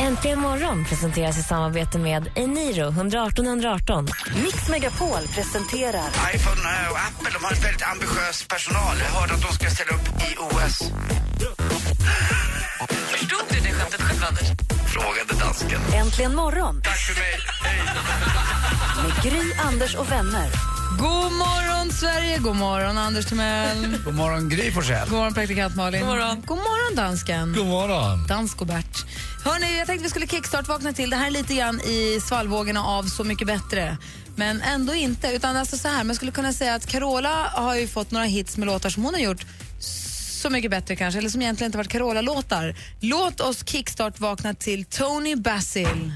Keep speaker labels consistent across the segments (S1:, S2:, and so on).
S1: Äntligen morgon presenteras i samarbete med Eniro 118 118. Mix Megapol presenterar
S2: iPhone eh, och Apple de har ett väldigt ambitiös personal. Jag hörde att de ska ställa upp i OS.
S3: Förstod du det skämtet själv, Anders?
S2: Frågade dansken.
S1: Äntligen morgon
S2: Tack för mig.
S1: med Gry, Anders och vänner.
S4: God morgon, Sverige! God morgon, Anders Timell!
S2: God morgon, Gry Forssell.
S4: God morgon, praktikant Malin! God morgon, God morgon dansken! God morgon! Dansk och Bert. Hörrni, jag tänkte vi skulle kickstart-vakna till. Det här är lite grann i svallvågorna av Så mycket bättre. Men ändå inte. Utan alltså så här, man skulle kunna säga att Carola har ju fått några hits med låtar som hon har gjort Så mycket bättre kanske, eller som egentligen inte varit Carola-låtar. Låt oss kickstart-vakna till Tony Basil.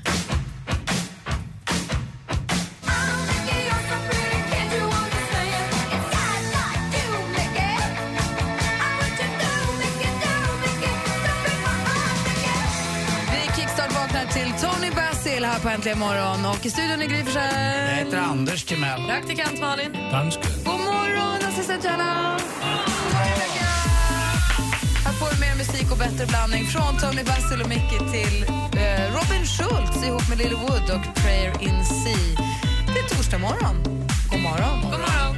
S4: Vi kickstart-vaknar till Tony Basil här på Äntligen morgon. Och i studion är Gry Forssell.
S2: Jag heter Anders Timell.
S4: Praktikant Malin. God morgon, assistent Johanna. Här får du mer musik och bättre blandning från Tony Basil och Mickey till eh, Robin Schultz ihop med Lily Wood och Prayer in Sea. Det är torsdag morgon. God morgon. God morgon.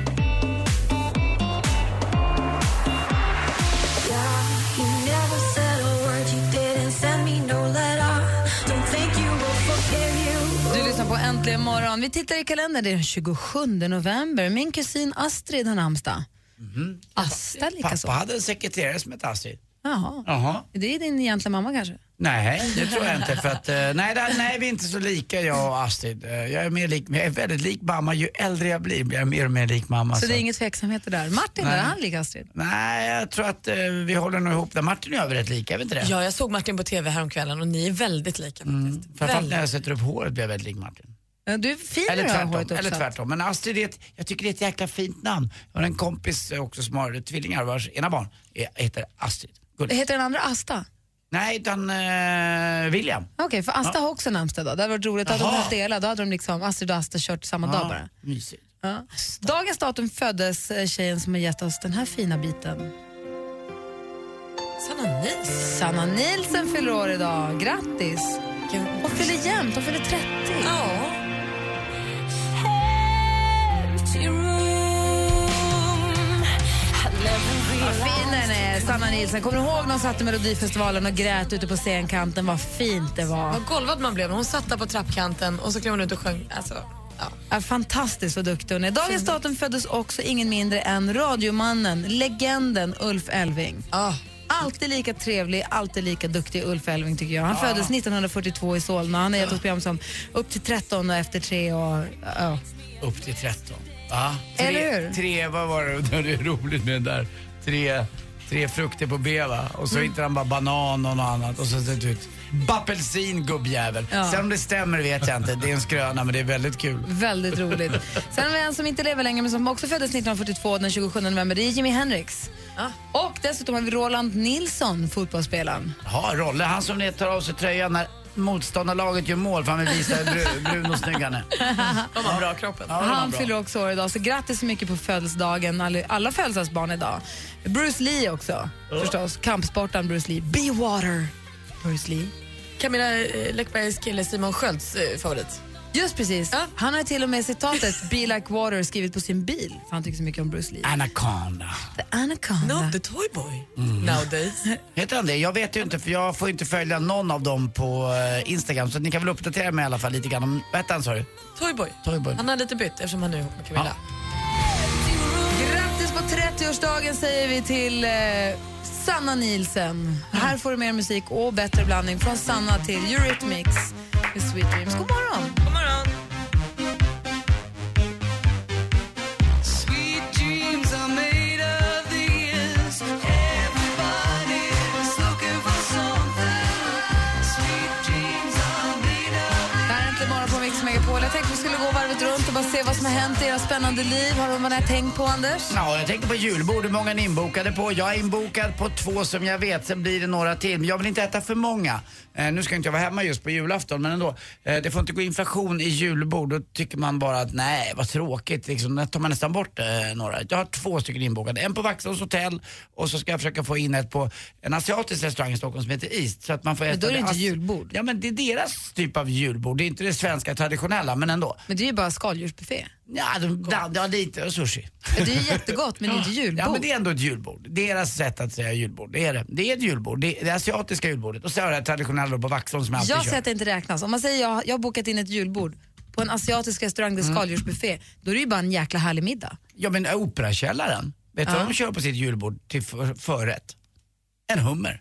S4: Du lyssnar på Äntligen morgon. Vi tittar i kalendern. Det är den 27 november. Min kusin Astrid har namnsdag.
S2: Mhm.
S4: Asta likaså.
S2: Pappa hade en sekreterare som hette Astrid.
S4: Jaha.
S2: Jaha.
S4: Det är din egentliga mamma kanske?
S2: Nej, det tror jag inte. För att, eh, nej, där, nej, vi är inte så lika jag och Astrid. Eh, Jag är, mer lik, jag är väldigt lik mamma. Ju äldre jag blir blir jag mer och mer lik mamma.
S4: Så det är inga tveksamheter där. Martin,
S2: Alltså. Nej.
S4: är han lik Astrid?
S2: Nej, jag tror att eh, vi håller nog ihop där. Martin och jag är väl rätt lika, är vi inte det?
S5: Ja, jag såg Martin på tv häromkvällen och ni är väldigt lika faktiskt.
S2: Framförallt när
S5: Väldigt.
S2: jag sätter upp håret blir jag väldigt lik Martin.
S4: Ja, Du är fin när
S2: Eller
S4: du har håret
S2: tvärtom, eller
S4: uppsatt.
S2: tvärtom. Men Astrid, är ett, jag tycker det är ett jäkla fint namn. Jag har en kompis eh, också som har tvillingar vars ena barn är, heter Astrid. Gulligt.
S4: Heter den andra Asta?
S2: Nej, utan eh, William.
S4: Okej, för Asta har också namnsdag då. Det hade varit roligt. Hade de
S2: Jaha.
S4: haft dela, då hade de liksom Astrid och Asta kört samma dag bara.
S2: mysigt.
S4: Ja. Dagens datum föddes eh, tjejen som har gett oss den här fina biten.
S5: Sanna Nils.
S4: Sanna Nielsen fyller år idag. Grattis! Hon fyller jämnt, hon fyller 30.
S5: Ja.
S4: Vad fin den är, Sanna Nielsen. Kommer du ihåg när hon satt i Melodifestivalen och grät ute på scenkanten? Vad fint det var.
S5: Vad golvad man blev. Hon satt där på trappkanten och så klev hon ut och sjöng. Alltså, ja.
S4: Ja, fantastiskt vad duktig hon är. Dagens datum föddes också ingen mindre än radiomannen, legenden Ulf Elving.
S5: Ah.
S4: Alltid lika trevlig, alltid lika duktig Ulf Elving tycker jag. Han föddes 1942 i Solna. Han har gett oss program som Upp till 13 och Efter tre och... ja.
S2: Upp till 13. Va? Tre,
S4: Eller hur?
S2: Tre, vad var det, det är roligt med den där. Tre, tre frukter på B va? Och
S4: Mm.
S2: så hittar han bara banan och något annat. Och så sätter ut bappelsin gubbjävel.
S4: Ja.
S2: Sen om det stämmer vet jag inte. Det är en skröna men det är väldigt kul.
S4: Väldigt roligt. Sen har vi en som inte lever längre men som också föddes 1942 den 27 november. Det är Jimi Hendrix. Och dessutom har vi Roland Nilsson, fotbollsspelaren.
S2: Ja, Rolle, han som tar av sig tröjan när motståndarlaget gör mål för han vill visa hur bru- brun och snygg han är.
S5: De har bra kroppen.
S2: Ja, det var
S4: Han
S2: bra.
S4: fyller också år idag, så grattis så mycket på födelsedagen, alla, alla födelsedagsbarn idag. Bruce Lee också, förstås. Kampsportaren Bruce Lee. Be water, Bruce Lee.
S5: Camilla eh, Läckbergs kille Simon Skölds eh, favorit.
S4: Just precis. Han har till och med citatet Be like water skrivit på sin bil, för han tycker så mycket om Bruce Lee.
S2: Anaconda.
S4: The
S2: Mm.
S4: Anaconda.
S5: Not the toy boy nowadays.
S2: Heter han det? Jag vet ju inte för jag får inte följa någon av dem på eh, Instagram så ni kan väl uppdatera mig i alla fall lite grann om, vad hette han sa du?
S5: Toy boy.
S2: Toy boy.
S5: Han har lite bytt eftersom han nu är ihop med Camilla.
S4: Grattis på 30-årsdagen säger vi till eh, Sanna Nielsen. Här får du mer musik och bättre blandning från Sanna till Eurythmics med Sweet Dreams. God morgon! Här är Äntligen morgon på Mix Megapol. Jag tänkte vi skulle gå varvet runt runt och bara se vad som har hänt i era spännande liv. Har du något ni har tänkt på, Anders?
S2: Ja, jag tänkte på julbord, hur många ni är inbokade på. Jag är inbokad på två som jag vet, sen blir det några till. Men jag vill inte äta för många. Eh, nu ska inte jag vara hemma just på julafton, men ändå. Eh, det får inte gå inflation i julbord. Då tycker man bara att nej, vad tråkigt. Liksom, då tar man nästan bort eh, några. Jag har två stycken inbokade. En på Vaxholms hotell och så ska jag försöka få in ett på en asiatisk restaurang i Stockholm som heter East. Så att man får äta
S4: Men då är det inte
S2: as-
S4: julbord.
S2: Ja, men det är deras typ av julbord. Det är inte det svenska traditionella, men ändå.
S4: Men det är ju bara skaldjursbuffé.
S2: Ja, de, de, de, lite och sushi.
S4: Det är ju jättegott, men det är inte julbord.
S2: Ja, men det är ändå ett julbord. Deras sätt att säga julbord, det är det. Det är ett julbord, det, det asiatiska julbordet. Och så har jag det här traditionella på Vaxholm som jag alltid
S4: Jag säger
S2: kör.
S4: att det inte räknas. Om man säger jag, jag har bokat in ett julbord på en asiatisk restaurang,
S2: Mm.
S4: det är skaldjursbuffé, då är det ju bara en jäkla härlig middag.
S2: Ja, men Operakällaren, vet du
S4: Ja.
S2: vad de kör på sitt julbord till för, förrätt? En hummer.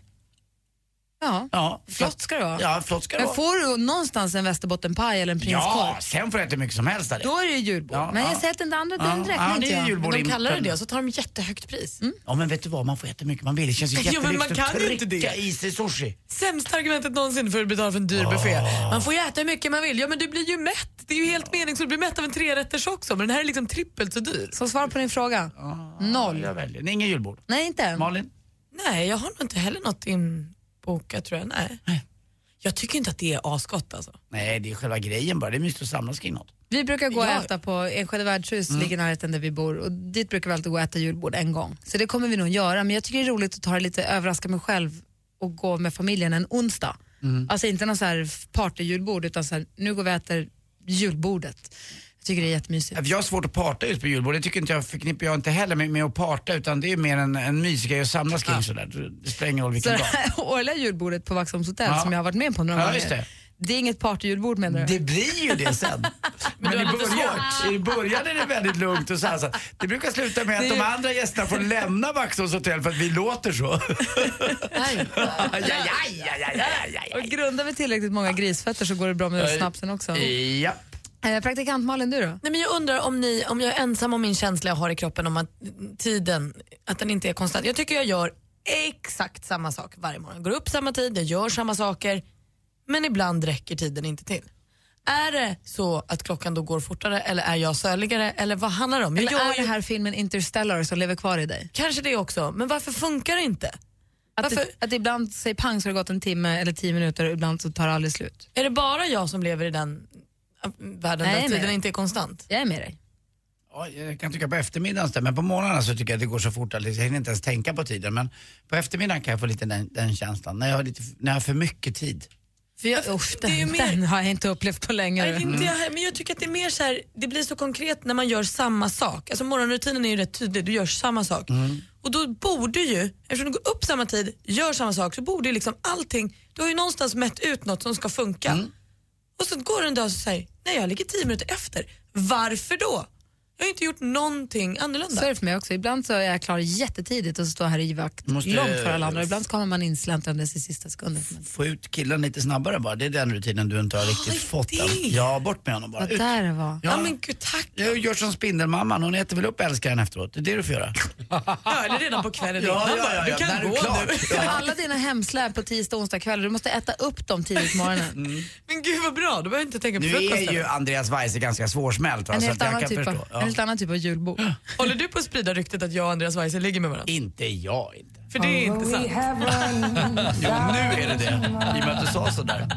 S4: Ja,
S2: Ja,
S4: flott ska det vara.
S2: Ja, flott ska det
S4: Men
S2: vara.
S4: får du någonstans en västerbottenpaj eller en prinskorv,
S2: Ja, sen får jag äta hur mycket som helst av det.
S4: då är det ju julbord.
S2: Ja,
S4: men jag
S2: ja.
S4: säger att den andra,
S2: Ja,
S4: den räknar
S2: ja, det
S4: inte
S2: är
S4: jag. Mm.
S2: julbord
S5: Men
S2: i-
S5: de kallar det det och så tar de jättehögt pris.
S2: Ja, men vet du vad, man får äta hur mycket man vill. Det känns ju
S5: Ja, men man
S2: jättelyxigt
S5: kan ju
S2: att
S5: inte
S2: trycka
S5: det.
S2: i sig sushi.
S5: Sämsta argumentet någonsin för att betala för en dyr buffé.
S2: Ah.
S5: Man får ju äta hur mycket man vill. Ja men du blir ju mätt. Det är ju helt meningsfullt att bli mätt av en trerätters också men den här är liksom trippelt så dyr.
S4: Så svar på din fråga.
S2: Ah.
S4: Noll.
S2: Jag väljer, det är ingen julbord.
S4: Nej, inte än.
S2: Malin?
S5: Nej, jag har nog inte heller något inbokat tror jag. Nej. Jag tycker inte att det är asgott alltså.
S2: Nej, det är själva grejen bara. Det är mysigt att samlas kring något.
S4: Vi brukar gå och
S5: Ja.
S4: äta på Enskede värdshus,
S2: Mm.
S4: ligger i närheten där vi bor. Och dit brukar vi alltid gå och äta julbord en gång. Så det kommer vi nog göra. Men jag tycker det är roligt att ta det lite, överraska mig själv och gå med familjen en onsdag.
S2: Mm.
S4: Alltså inte någon så här partyjulbord utan så här, nu går vi och äter julbordet. Jag tycker det är jättemysigt.
S2: Jag har svårt att parta just på julbord. Det tycker inte jag förknippar jag inte heller med, med att parta utan det är mer en, en mysgrej att samlas kring sådär. Det spelar ingen roll
S4: Så
S2: vilken
S4: det
S2: dag.
S4: här årliga julbordet på Vaxholms hotell
S2: Ja.
S4: som jag har varit med på några
S2: Ja,
S4: gånger.
S2: just det.
S4: det är inget partyjulbord menar du?
S2: Det blir ju det sen. Men, i, början, i början är det väldigt lugnt och så här, så att Det brukar sluta med att de andra gästerna får lämna Vaxholms hotell för att vi låter så.
S4: Nej.
S2: ja, ja, ja, ja, ja, ja,
S4: Och grundar vi tillräckligt många grisfötter så går det bra med snapsen också.
S2: ja. Ja.
S4: Eh, praktikant Malin, du då?
S5: Nej, men jag undrar om, ni, om jag är ensam om min känsla jag har i kroppen om att tiden, att den inte är konstant. Jag tycker jag gör exakt samma sak varje morgon. Jag går upp samma tid, jag gör samma saker, men ibland räcker tiden inte till. Är det så att klockan då går fortare eller är jag söligare eller vad handlar det om? Jag
S4: Eller
S5: gör
S4: är det
S5: ju-
S4: här filmen Interstellar som lever kvar i dig?
S5: Kanske det också, men varför funkar det inte?
S4: Att, det,
S5: Varför-
S4: att ibland säger pang så har det gått en timme eller tio minuter och ibland så tar det aldrig slut.
S5: Är det bara jag som lever i den äh, världen
S4: Nej,
S5: där
S4: nej.
S5: tiden inte är konstant?
S4: Jag är med dig.
S2: Ja, Jag kan tycka på eftermiddagen, så där, men på morgonen så tycker jag att det går så fort att jag hinner inte ens tänka på tiden. Men på eftermiddagen kan jag få lite den, den känslan, när jag, har lite, när jag har för mycket tid.
S4: För jag, usch,
S5: det är ju
S4: den,
S5: mer-
S4: den har jag inte upplevt på länge.
S5: Nej,
S2: Mm.
S5: inte jag, heller, men jag tycker att det är mer så här, det blir så konkret när man gör samma sak. Alltså morgonrutinen är ju rätt tydlig, du gör samma sak.
S2: Mm.
S5: Och då borde ju, eftersom du går upp samma tid, gör samma sak, så borde ju liksom allting, du har ju någonstans mätt ut något som ska funka.
S2: Mm.
S5: Och så går det en dag och så säger nej jag ligger tio minuter efter. Varför då? Jag har ju inte gjort någonting annorlunda.
S4: Så är det för mig också. Ibland så är jag klar jättetidigt och så står jag här i vakt
S2: Måste-
S4: långt före alla andra. Ibland så kommer man insläntandes i sista sekunden. Men
S2: Få ut killen lite snabbare bara, det är den rutinen du inte har riktigt fått än.
S5: det.
S2: Ja, bort med honom bara.
S4: vad
S2: Ut.
S4: där det var.
S5: ja.
S2: Ja.
S5: men gud tack.
S2: Jag gör som Spindelmamman, hon äter väl upp älskaren efteråt. Det är det du får göra.
S5: Ja, eller redan på kvällen
S2: Ja,
S5: innan
S2: ja,
S5: bara,
S2: ja, ja.
S5: Du
S2: När
S5: kan
S2: du är
S5: gå
S2: klar.
S5: nu.
S4: Alla dina hemslöp på tisdag och onsdag kväll, du måste äta upp dem tidigt på morgonen.
S2: Mm,
S5: Men gud vad bra, då behöver jag inte tänka på
S2: Nu är
S5: frukosten.
S2: ju Andreas Weise ganska svårsmält va,
S4: En,
S2: så att
S4: helt
S2: alltså, jag
S4: annan
S2: kan
S4: typ av,
S2: förstå.
S4: en
S2: Ja.
S4: helt annan typ av julbord.
S5: Håller du på att sprida ryktet att jag och Andreas Weise ligger med varandra?
S2: Inte jag inte.
S5: För det är inte sant.
S2: Jo, nu är det det. I och med att du sa sådär.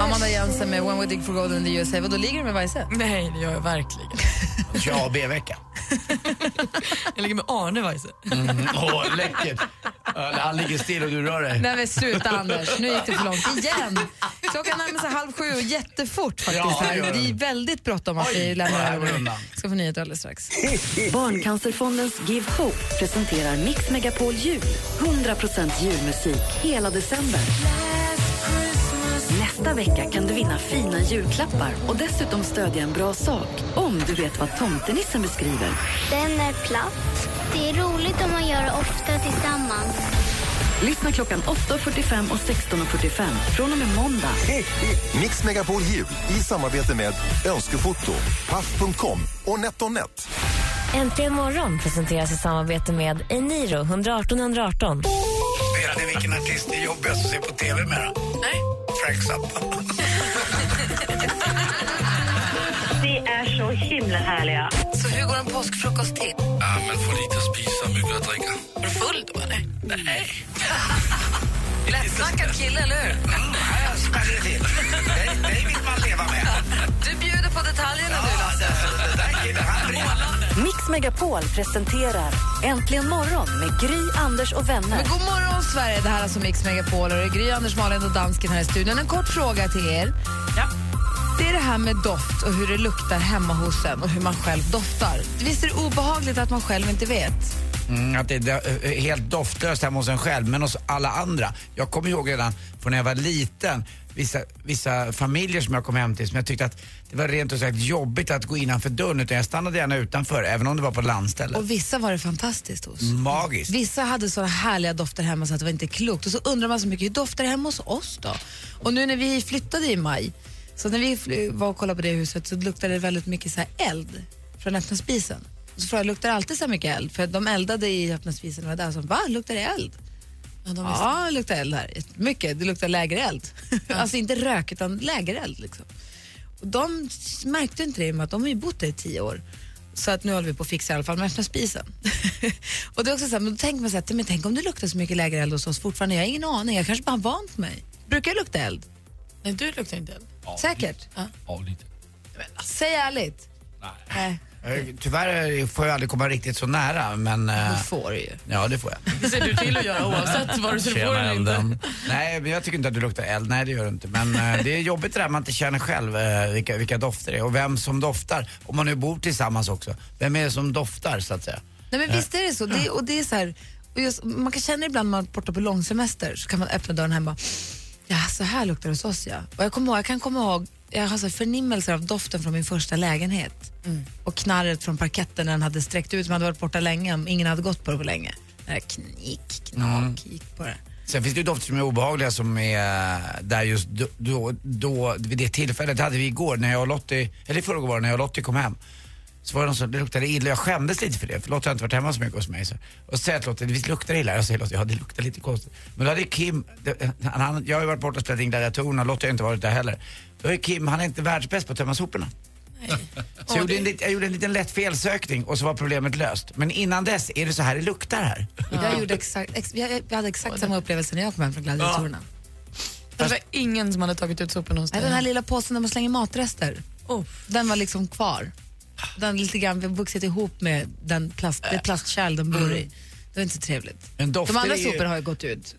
S4: Amanda Jensen med When We Dig For Gold in the USA. Vadå, ligger du med Weise?
S5: Nej, det gör jag verkligen.
S2: Ja, B-vecka.
S5: Jag ligger med Arne Weise.
S2: Mm, Åh, läckert. Ja, Han ligger still och du rör dig.
S4: Nej men sluta Anders, nu gick det för långt. Igen! Klockan närmar sig halv sju och jättefort faktiskt.
S2: Ja, det gör
S4: det är väldigt bråttom att
S2: Oj,
S4: vi
S2: vad
S4: lämnar
S2: här var
S4: över.
S2: undan.
S4: Ska få nyheter alldeles strax.
S6: Barncancerfondens Give Hope presenterar Mix Megapol Jul. 100% julmusik hela december. Nästa vecka kan du vinna fina julklappar och dessutom stödja en bra sak om du vet vad tomtenissen beskriver.
S7: Den är platt. Det är roligt om man gör det ofta tillsammans.
S6: Lyssna klockan 8.45 och 16.45 från och med måndag.
S8: Mix Megapol Jul i samarbete med Önskefoto, Paff.com och NetOnNet.
S1: Äntligen morgon presenteras i alltså samarbete med Eniro 118 118.
S2: Vet ni vilken artist det är jobbigast att se på TV med då? Nej. Frank Zappa.
S9: Ni är så himla härliga.
S4: Så hur går en påskfrukost till?
S10: Ja, man får lite att spisa och mycket att dricka.
S4: Är du full då, eller?
S10: Nej.
S4: Lättsnackad kille, eller hur?
S2: jag smäller till. Det, det vill man leva med.
S4: Du bjuder på detaljerna nu, Lasse.
S6: Mix Megapol presenterar Äntligen morgon med Gry, Anders och vänner.
S4: Men god morgon, Sverige! Det här är alltså Mix Megapol och det är Gry, Anders, Malin och dansken här i studion. En kort fråga till er. Ja. Det är det här med doft och hur det luktar hemma hos en och hur man själv doftar. Visst är det obehagligt att man själv inte vet?
S2: Mm, att det är do- eh, helt doftlöst hemma hos en själv, men hos alla andra. Jag kommer ihåg redan från när jag var liten, vissa, vissa familjer som jag kom hem till som jag tyckte att det var rent ut sagt jobbigt att gå innanför dörren utan jag stannade gärna utanför, även om det var på landstället.
S4: Och vissa var det fantastiskt hos.
S2: Magiskt.
S4: Vissa hade såna härliga dofter hemma så att det var inte klokt. Och så undrar man så mycket, hur doftar det hemma hos oss då? Och nu när vi flyttade i maj, så när vi fly- var och kollade på det huset så luktade det väldigt mycket så här eld från öppna spisen. Och så frågade jag, luktar det alltid så här mycket eld? För de eldade i öppna spisen och var där och så, va, luktar det eld? Ja, de ja, det luktar eld här. Mycket, det luktar lägereld. alltså inte rök, utan lägereld liksom. Och de märkte inte det i och med att de har ju bott där i tio år. Så att nu håller vi på att fixa i alla fall med öppna spisen. och det är också så här, men då tänker man så här, men tänk om det luktar så mycket lägereld hos oss fortfarande. Jag har ingen aning, jag kanske bara har vant mig. Brukar jag lukta eld?
S5: Nej, du luktar inte eld.
S4: Säkert? Ja.
S2: Ja, lite.
S4: Säg ärligt. Nej.
S2: Eh, Tyvärr eh, får jag aldrig komma riktigt så nära, men... Du
S4: får ju.
S2: Ja, det får jag.
S5: Det ser du till att göra oavsett vad du ser på
S2: Tjena,
S5: den inte.
S2: elden. Nej, men jag tycker inte att du luktar eld. Nej, det gör du inte. Men eh, det är jobbigt det där man inte känner själv eh, vilka, vilka dofter det är och vem som doftar. Om man nu bor tillsammans också. Vem är det som doftar, så att säga?
S4: Nej men
S2: Eh,
S4: visst är det så. Det, och det är så här, och just, man kan känna ibland när man är borta på långsemester så kan man öppna dörren hemma och bara, ja så här luktar det hos oss ja. Och jag, kommer ihåg, jag kan komma ihåg, jag har så här förnimmelser av doften från min första lägenhet och knarret från parketten när den hade sträckt ut, man hade varit borta länge, ingen hade gått på det på länge. Det här knick, knak,
S2: Mm.
S4: gick på det.
S2: Sen finns det ju dofter som är obehagliga som är eh, där just då, då, då vid det tillfället, det hade vi igår när jag och Lottie, eller i förrgår var det när jag och Lottie kom hem. Så var det någon som, det luktade illa, jag skämdes lite för det för Lottie har inte varit hemma så mycket hos mig. Så. Och så säger jag till Lottie, visst luktar det illa? Jag säger Lottie, ja det luktar lite konstigt. Men då hade Kim, det, han, han, jag har ju varit borta och spelat in gladiatorerna, Lottie har inte varit där heller. Då är Kim, han är inte världsbäst på att tömma soporna. Så jag, gjorde en, lit- jag gjorde en liten lätt felsökning och så var problemet löst. Men innan dess, är det så här det luktar här?
S4: Jag, gjorde exakt, ex, jag, jag hade exakt samma upplevelse när jag kom hem från gladiatorerna.
S5: Det var ingen som hade tagit ut soporna hos
S4: Nej, den här lilla påsen där man slänger matrester, den var liksom kvar. Den lite grann vuxit ihop med den plast, det plastkärl den bor i. Det var inte så trevligt.
S2: Men dofter
S4: De andra
S2: är ju-
S4: soporna har ju gått ut.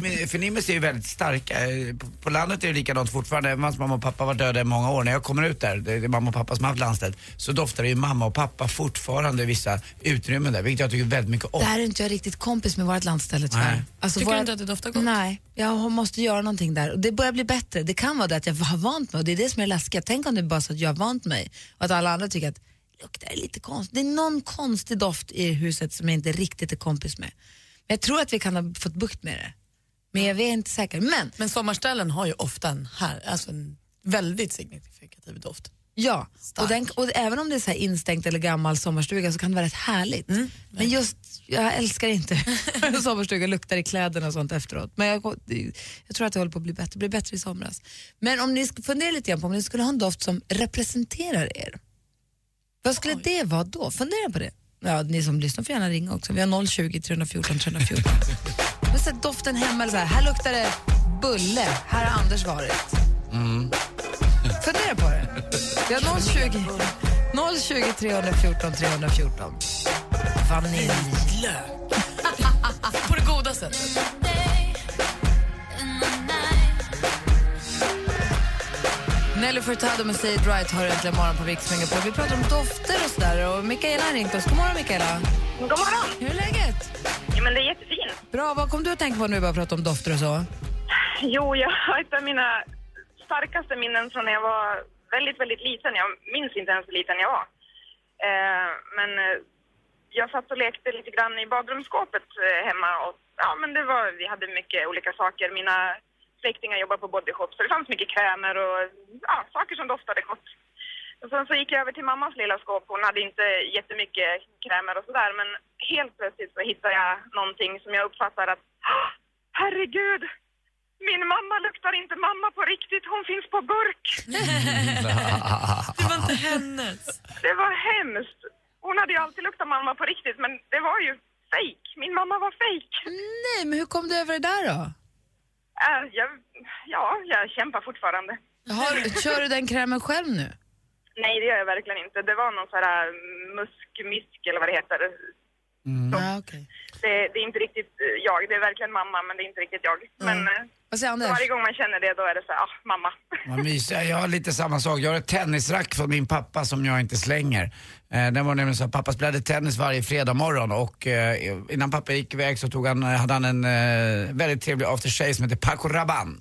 S2: Doftförnimmelser är ju väldigt starka. Eh, På, på landet är det likadant fortfarande. Även fast mamma och pappa har varit döda i många år. När jag kommer ut där, det är mamma och pappa som har haft landstället, så doftar det ju mamma och pappa fortfarande i vissa utrymmen där. Vilket jag tycker väldigt mycket om.
S4: Där är inte jag riktigt kompis med vårt landställe
S2: Nej.
S4: tyvärr. Alltså
S5: Tycker
S4: våra-
S5: du inte att det doftar gott?
S4: Nej, jag måste göra någonting där. Och det börjar bli bättre. Det kan vara det att jag har vant mig och det är det som är läskigt. Tänk om det är bara så att jag har vant mig och att alla andra tycker att luktar det lite konstigt. Det är någon konstig doft i huset som jag inte riktigt är kompis med. Men jag tror att vi kan ha fått bukt med det. Men jag är inte säker. Men,
S5: Men sommarställen har ju ofta en, här, alltså en väldigt signifikativ doft.
S4: Ja, och, den, och även om det är så här instängt eller gammal sommarstuga så kan det vara rätt härligt. men just, jag älskar inte hur en sommarstuga luktar i kläderna och sånt efteråt. Men jag, jag tror att det håller på att bli bättre, blir bättre i somras. Men om ni sk- funderar lite grann på om ni skulle ha en doft som representerar er. Vad skulle det vara då? Fundera på det. Ja, ni som lyssnar får gärna ringa också. Vi har 020 314 314. Men så här, doften hemma, eller så här, här luktar det bulle, här har Anders varit.
S10: Mm.
S4: Fundera på det. Vi har 020, 020 314 314. Vanilj.
S5: På det goda sättet.
S4: Nelly Furtado med Say It Right har äntligen morgon på Mix Megapol. Vi pratar om dofter och sådär och Mikaela har ringt oss. God morgon Mikaela.
S9: God morgon.
S4: Hur är läget?
S9: Ja, men det är jättefint.
S4: Bra, vad kom du att tänka på nu bara prata om dofter och så?
S9: Jo, jag har ett av mina starkaste minnen från när jag var väldigt, väldigt liten. Jag minns inte ens hur liten jag var. Eh, men eh, jag satt och lekte lite grann i badrumsskåpet eh, hemma och ja, men det var, vi hade mycket olika saker. Mina släktingar jobbar på bodyshop så det fanns mycket krämer och ja, saker som doftade gott. Och sen så gick jag över till mammas lilla skåp. Hon hade inte jättemycket krämer och sådär. Men helt plötsligt så hittade jag någonting som jag uppfattar att "Ah, herregud, min mamma luktar inte mamma på riktigt. Hon finns på burk.
S5: Det var inte hennes.
S9: Det var hemskt. Hon hade ju alltid luktat mamma på riktigt, men det var ju fake. Min mamma var fake.
S4: Nej, men hur kom du över det där då?
S9: Äh, jag, ja, jag kämpar fortfarande.
S4: Har, kör du den krämen själv nu?
S9: Nej, det gör jag verkligen inte. Det var någon sån här muskmysk eller vad det heter.
S4: Mm. Ja, okej.
S9: Det, det är inte riktigt eh, jag. Det är verkligen mamma, men det är inte riktigt jag. Men eh,
S4: Vad säger Anders?
S9: varje gång man känner det, då är det så här, ah, mamma.
S2: Vad mysiga. Jag har lite samma sak. Jag har ett tennisrack från min pappa som jag inte slänger. Eh, den var nämligen så att pappa spelade tennis varje fredag morgon och eh, innan pappa gick iväg så tog han, hade han en eh, väldigt trevlig aftershave som hette Paco Rabanne.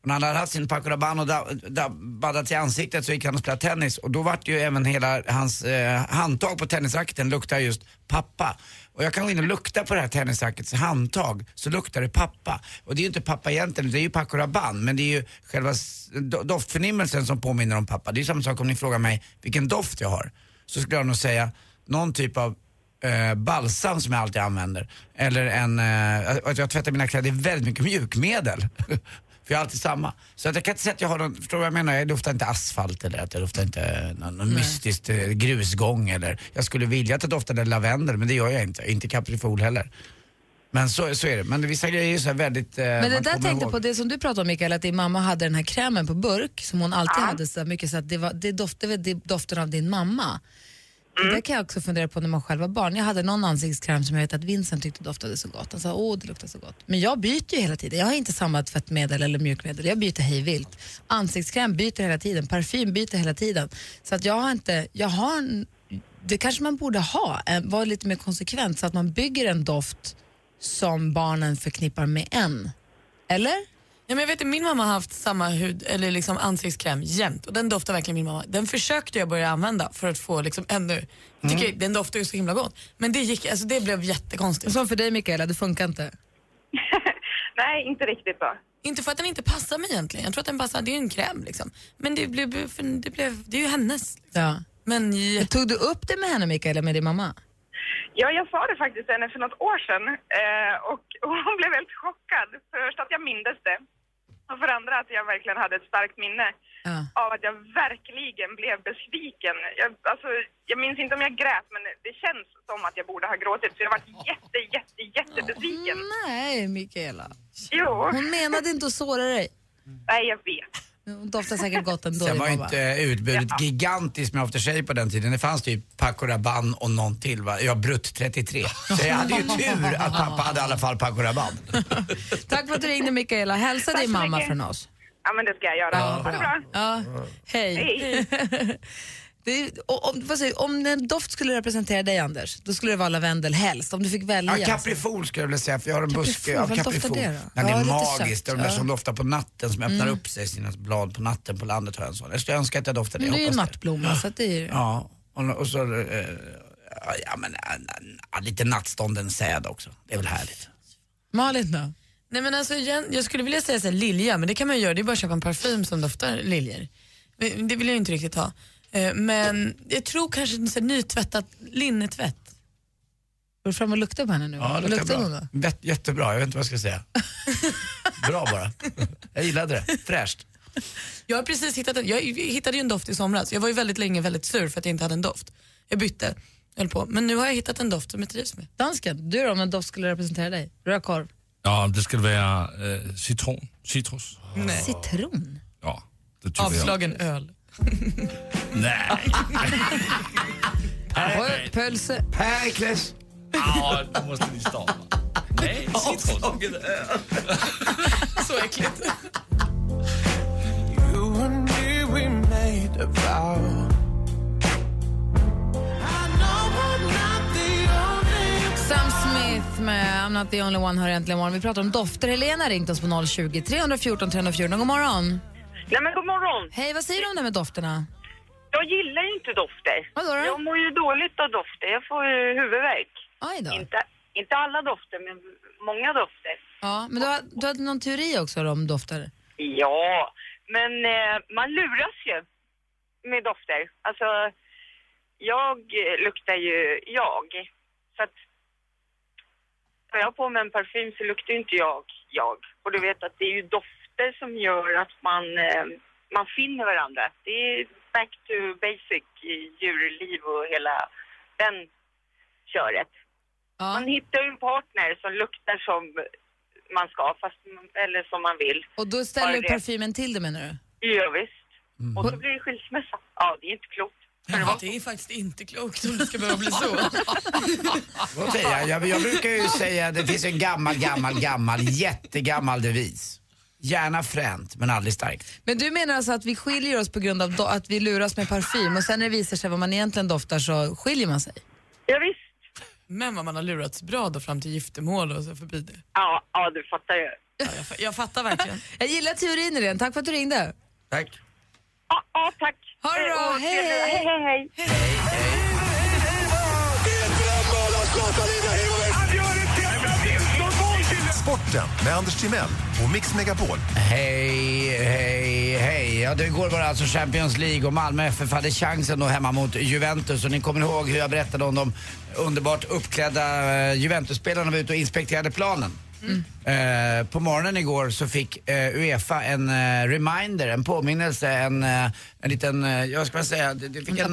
S2: Och när han hade haft sin Paco Rabanne och da- da- baddat i ansiktet så gick han och spelade tennis och då vart ju även hela hans eh, handtag på tennisracketen luktar just pappa. Och jag kan gå in och lukta på det här tennisrackets handtag så luktar det pappa. Och det är ju inte pappa egentligen, det är ju Paco Rabanne men det är ju själva s- do- doftförnimmelsen som påminner om pappa. Det är ju samma sak om ni frågar mig vilken doft jag har. Så skulle jag nog säga någon typ av eh, balsam som jag alltid använder. Eller en, eh, att- att jag tvättar mina kläder i väldigt mycket mjukmedel. För jag har alltid samma. Så att jag kan inte säga att jag har någon, förstår du vad jag menar? Jag doftar inte asfalt eller att jag doftar inte någon, någon mystisk eh, grusgång eller jag skulle vilja att jag doftade lavendel men det gör jag inte. Inte kaprifol heller. Men så, så är det. Men vissa grejer är ju så här väldigt... eh,
S4: Men det
S2: man
S4: där
S2: kommer
S4: tänkte jag
S2: ihåg.
S4: på, det som du pratade om Mikael, att din mamma hade den här krämen på burk som hon alltid hade så här mycket så att det, var, det doftade väl det doften av din mamma. Det där kan jag också fundera på när man själv var barn. Jag hade någon ansiktskräm som jag vet att Vincent tyckte doftade så gott. Han sa åh det luktar så gott. Men jag byter ju hela tiden. Jag har inte samma tvättmedel eller mjukmedel. Jag byter hejvilt. Ansiktskräm byter hela tiden. Parfym byter hela tiden. Så att jag har inte, jag har en, det kanske man borde ha. eh, Vara lite mer konsekvent så att man bygger en doft som barnen förknippar med en. Eller?
S5: Ja, men jag vet att min mamma har haft samma hud, eller liksom ansiktskräm jämt och den doftar verkligen min mamma. Den försökte jag börja använda för att få liksom ännu, jag tycker den doftar ju så himla gott. Men det gick, alltså det blev jättekonstigt.
S4: Som för dig Mikaela, det funkar inte?
S9: Nej, inte riktigt då.
S5: Inte för att den inte passar mig egentligen, jag tror att den passar, det är ju en kräm liksom. Men det blev, för det blev, det är ju hennes. liksom.
S4: Ja.
S5: Men
S4: Tog du upp det med henne Mikael eller med din mamma?
S9: Ja, jag sa det faktiskt till henne för något år sedan eh, och, och hon blev helt chockad. För det första att jag mindes det och för det andra att jag verkligen hade ett starkt minne
S4: Ja.
S9: av att jag verkligen blev besviken. Jag, alltså, jag minns inte om jag grät, men det känns som att jag borde ha gråtit så jag var jätte, jätte, jättebesviken.
S4: Nej Mikaela.
S9: Jo,
S4: Hon menade inte att såra dig.
S9: nej jag vet.
S4: Men Hon doftar säkert gott ändå.
S2: Sen
S4: din
S2: var ju
S4: mamma.
S2: inte eh, utbudet gigantiskt med aftershave på den tiden. Det fanns typ Paco Rabanne och någon till va? Ja, Brutt 33. Så jag hade ju tur att pappa hade i alla fall Paco Rabanne.
S4: Tack för att du ringde Mikaela. Hälsa
S9: Tack
S4: din
S9: så
S4: mamma
S9: mycket.
S4: från oss.
S9: Ja, men det ska jag göra. ha det bra.
S4: Ja. Hej. Det är, och, om, vad säger, om en doft skulle representera dig Anders, då skulle det vara lavendel helst. Om du fick välja.
S2: Ja, Caprifol skulle jag vilja säga för jag har en
S4: Caprifol,
S2: buske av
S4: vad doftar
S2: Caprifol.
S4: det då?
S2: Den
S4: Ja,
S2: är
S4: lite
S2: magisk.
S4: sött,
S2: Den där
S4: ja.
S2: som doftar på natten som öppnar
S4: Mm.
S2: upp sig sina blad på natten på landet har jag en sån. Jag skulle önska att jag doftade
S4: Men
S2: det.
S4: du är ju
S2: hoppas det.
S4: nattblomma så att det är ju...
S2: Ja, och, och så eh, ja, men, eh, eh, lite nattstånden säd också. Det är väl härligt.
S4: Malin då?
S5: Nej men alltså jag, jag skulle vilja säga så här, lilja, men det kan man ju göra, det är bara att köpa en parfym som doftar liljor. Men Det vill jag ju inte riktigt ha. Eh, Men jag tror kanske en så här, nytvättat linnetvätt.
S4: Går du fram och luktar på henne nu?
S2: Ja,
S4: Vad
S2: det luktar
S4: hon
S2: bra.
S4: då?
S2: Vet- Jättebra, jag vet inte vad jag ska säga. bra bara. Jag gillade det. Fräscht.
S5: Jag har precis hittat en, jag hittade ju en doft i somras. Jag var ju väldigt länge väldigt sur för att jag inte hade en doft. Jag bytte, höll på. Men nu har jag hittat en doft som jag trivs med.
S4: Dansken, du då om en doft skulle representera dig? Rödkorv?
S10: Ja, det ska vara eh, citron, citrus.
S4: Citron?
S10: Ja, det tycker
S5: Avslagen öl.
S10: jag. Nej.
S4: Pö- Pölse?
S2: Perikles.
S10: Ja, då måste ni stava. Nej, citrus.
S5: Så äckligt.
S4: Sam Smith med I'm not the only one hör äntligen morgon. Vi pratar om dofter. Helena har ringt oss på 020 314 314. God morgon.
S11: Nej men god morgon.
S4: Hej, vad säger du om det här med dofterna?
S11: Jag gillar ju inte dofter.
S4: Vadå då?
S11: Jag mår ju dåligt av dofter. Jag får ju huvudvärk.
S4: Aj då.
S11: Inte, inte alla dofter, men många dofter.
S4: Ja, men du, har, du hade någon teori också om dofter?
S11: Ja, men eh, man luras ju. med dofter. Alltså, jag eh, luktar ju jag. Så att, tar jag på mig en parfym så luktar ju inte jag jag. Och du vet att det är ju dofter som gör att man, eh, man finner varandra. Det är back to basic i djurliv och hela den köret. Man hittar ju en partner som luktar som man ska, fast, eller som man vill.
S4: Och då
S11: Bara
S4: ställer du
S11: det.
S4: parfymen till det menar du?
S11: Ja, visst.
S4: Mm.
S11: Och så blir det skilsmässa. Ja, det är inte klokt.
S5: Ja, det är faktiskt inte klokt om det ska behöva bli så.
S2: Vad säger jag? jag? Jag brukar ju säga, det finns en gammal, gammal, gammal, jättegammal devis. Gärna fränt, men aldrig starkt.
S4: Men du menar alltså att vi skiljer oss på grund av do- att vi luras med parfym och sen när det visar sig vad man egentligen doftar så skiljer man sig?
S11: Ja, visst.
S5: Men vad man har lurats bra då fram till giftermål och så förbi det.
S11: Ja, ja du fattar ju.
S5: jag, fa- jag fattar verkligen.
S4: Jag gillar teorin i den. Tack för att du ringde.
S2: Tack.
S11: Ja, ja tack. Eh,
S4: Ha det bra.
S11: Och-
S4: Hej.
S11: hej, hej, hej.
S8: Sporten med Anders Timell och Mix Megapol.
S2: Hej, hej, hej. Ja, det igår var det alltså Champions League och Malmö FF hade chansen då hemma mot Juventus. Och ni kommer ihåg hur jag berättade om de underbart uppklädda eh, Juventus-spelarna var ute och inspekterade planen. Eh, på morgonen igår så fick eh, Uefa en eh, reminder, en påminnelse, en, eh, en liten, eh, jag ska man säga, det, det fick en... en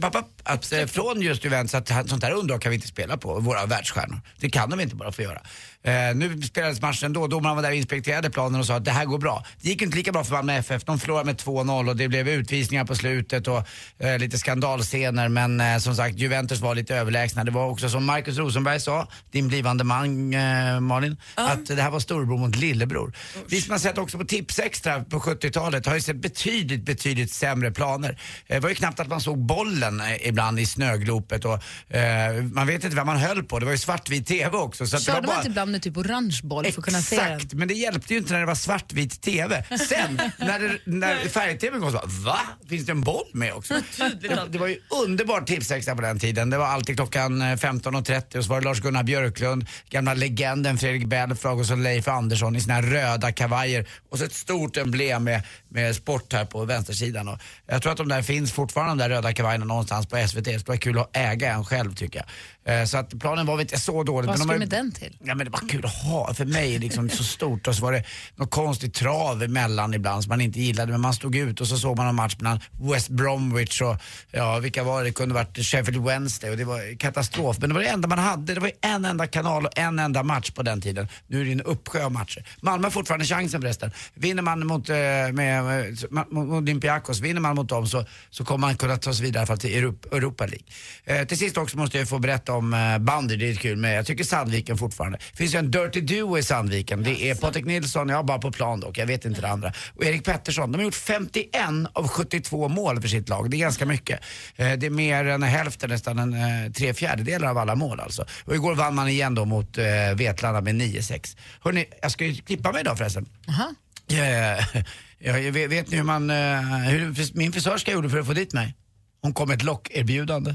S2: papp, papp, att eh, från just Juventus att här- sånt här underlag kan vi inte spela på, våra världsstjärnor. Det kan de inte bara få göra. Eh, nu spelades matchen då, domaren var där och inspekterade planen och sa att det här går bra. Det gick inte lika bra för Malmö FF, de förlorade med 2-0 och det blev utvisningar på slutet och eh, lite skandalscener men eh, som sagt Juventus var lite överlägsna. Det var också som Marcus Rosenberg sa, din blivande man eh, Malin, att det här var storbror mot lillebror. Vi som har sett också på Tipsextra på 70-talet har ju sett betydligt, betydligt sämre planer. Eh, Det var ju knappt att man såg bollen eh, ibland i snöglopet och eh, man vet inte vad man höll på. Det var ju svartvit TV också. Så att det var
S4: Körde man
S2: bara...
S4: inte ibland med typ orange boll för att kunna se den?
S2: Exakt, men det hjälpte ju inte när det var svartvit TV. Sen när, det- när färg-TV kom så bara, va? Finns det en boll med också? Det, det var ju underbart tipsextra på den tiden. Det var alltid klockan eh, 15.30 och så var det Lars-Gunnar Björklund, gamla legenden Fredrik Belfrage och så Leif Andersson i sina röda kavajer och så ett stort emblem med, med sport här på vänstersidan. Och jag tror att de där finns fortfarande, de där röda kavajerna någonstans på SVT. Det skulle vara kul att äga en själv tycker jag. Eh, Så att planen var väl inte så dålig. men
S4: Vad
S2: de
S4: ska
S2: har
S4: du
S2: ju-
S4: med den till?
S2: Ja, men det var kul att ha. För mig är det liksom så stort. Och så var det något konstigt trav emellan ibland som man inte gillade. Men man stod ut och så såg man en match mellan West Bromwich och, ja, vilka var det? Det kunde varit Sheffield Wednesday och det var katastrof. Men det var det enda man hade. Det var ju en enda kanal och en enda match på den tiden. Nu är det en uppsjö av matcher. Malmö har fortfarande chansen förresten. Vinner man mot, eh, med, med, mot Olympiakos, vinner man mot dem så, så kommer man kunna ta sig vidare i alla fall till Europa, Europa League. Eh, till sist också måste jag få berätta om eh, bandy, det är kul med, jag tycker Sandviken fortfarande. Det finns ju en Dirty Duo i Sandviken. Det är Patrik Nilsson, jag bara på plan dock, jag vet inte det andra. Och Erik Pettersson, de har gjort 51 av 72 mål för sitt lag. Det är ganska mycket. Eh, det är mer än hälften, nästan en, eh, tre fjärdedelar av alla mål alltså. Och igår vann man igen då mot eh, Vetlanda med 9-6. Hörrni, jag ska ju klippa mig idag förresten.
S4: Aha.
S2: Eh, Ja, jag vet, vet ni hur, man, eh, hur min frisörska gjorde för att få dit mig? Hon kom med ett lockerbjudande.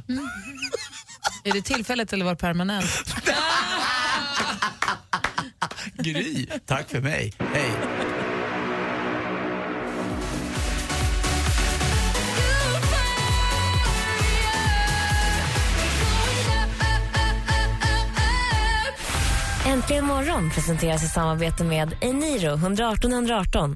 S4: Är det tillfället eller var det permanent?
S2: Gry, tack för mig. Hej.
S1: Äntligen morgon presenteras i samarbete med Eniro 118 118.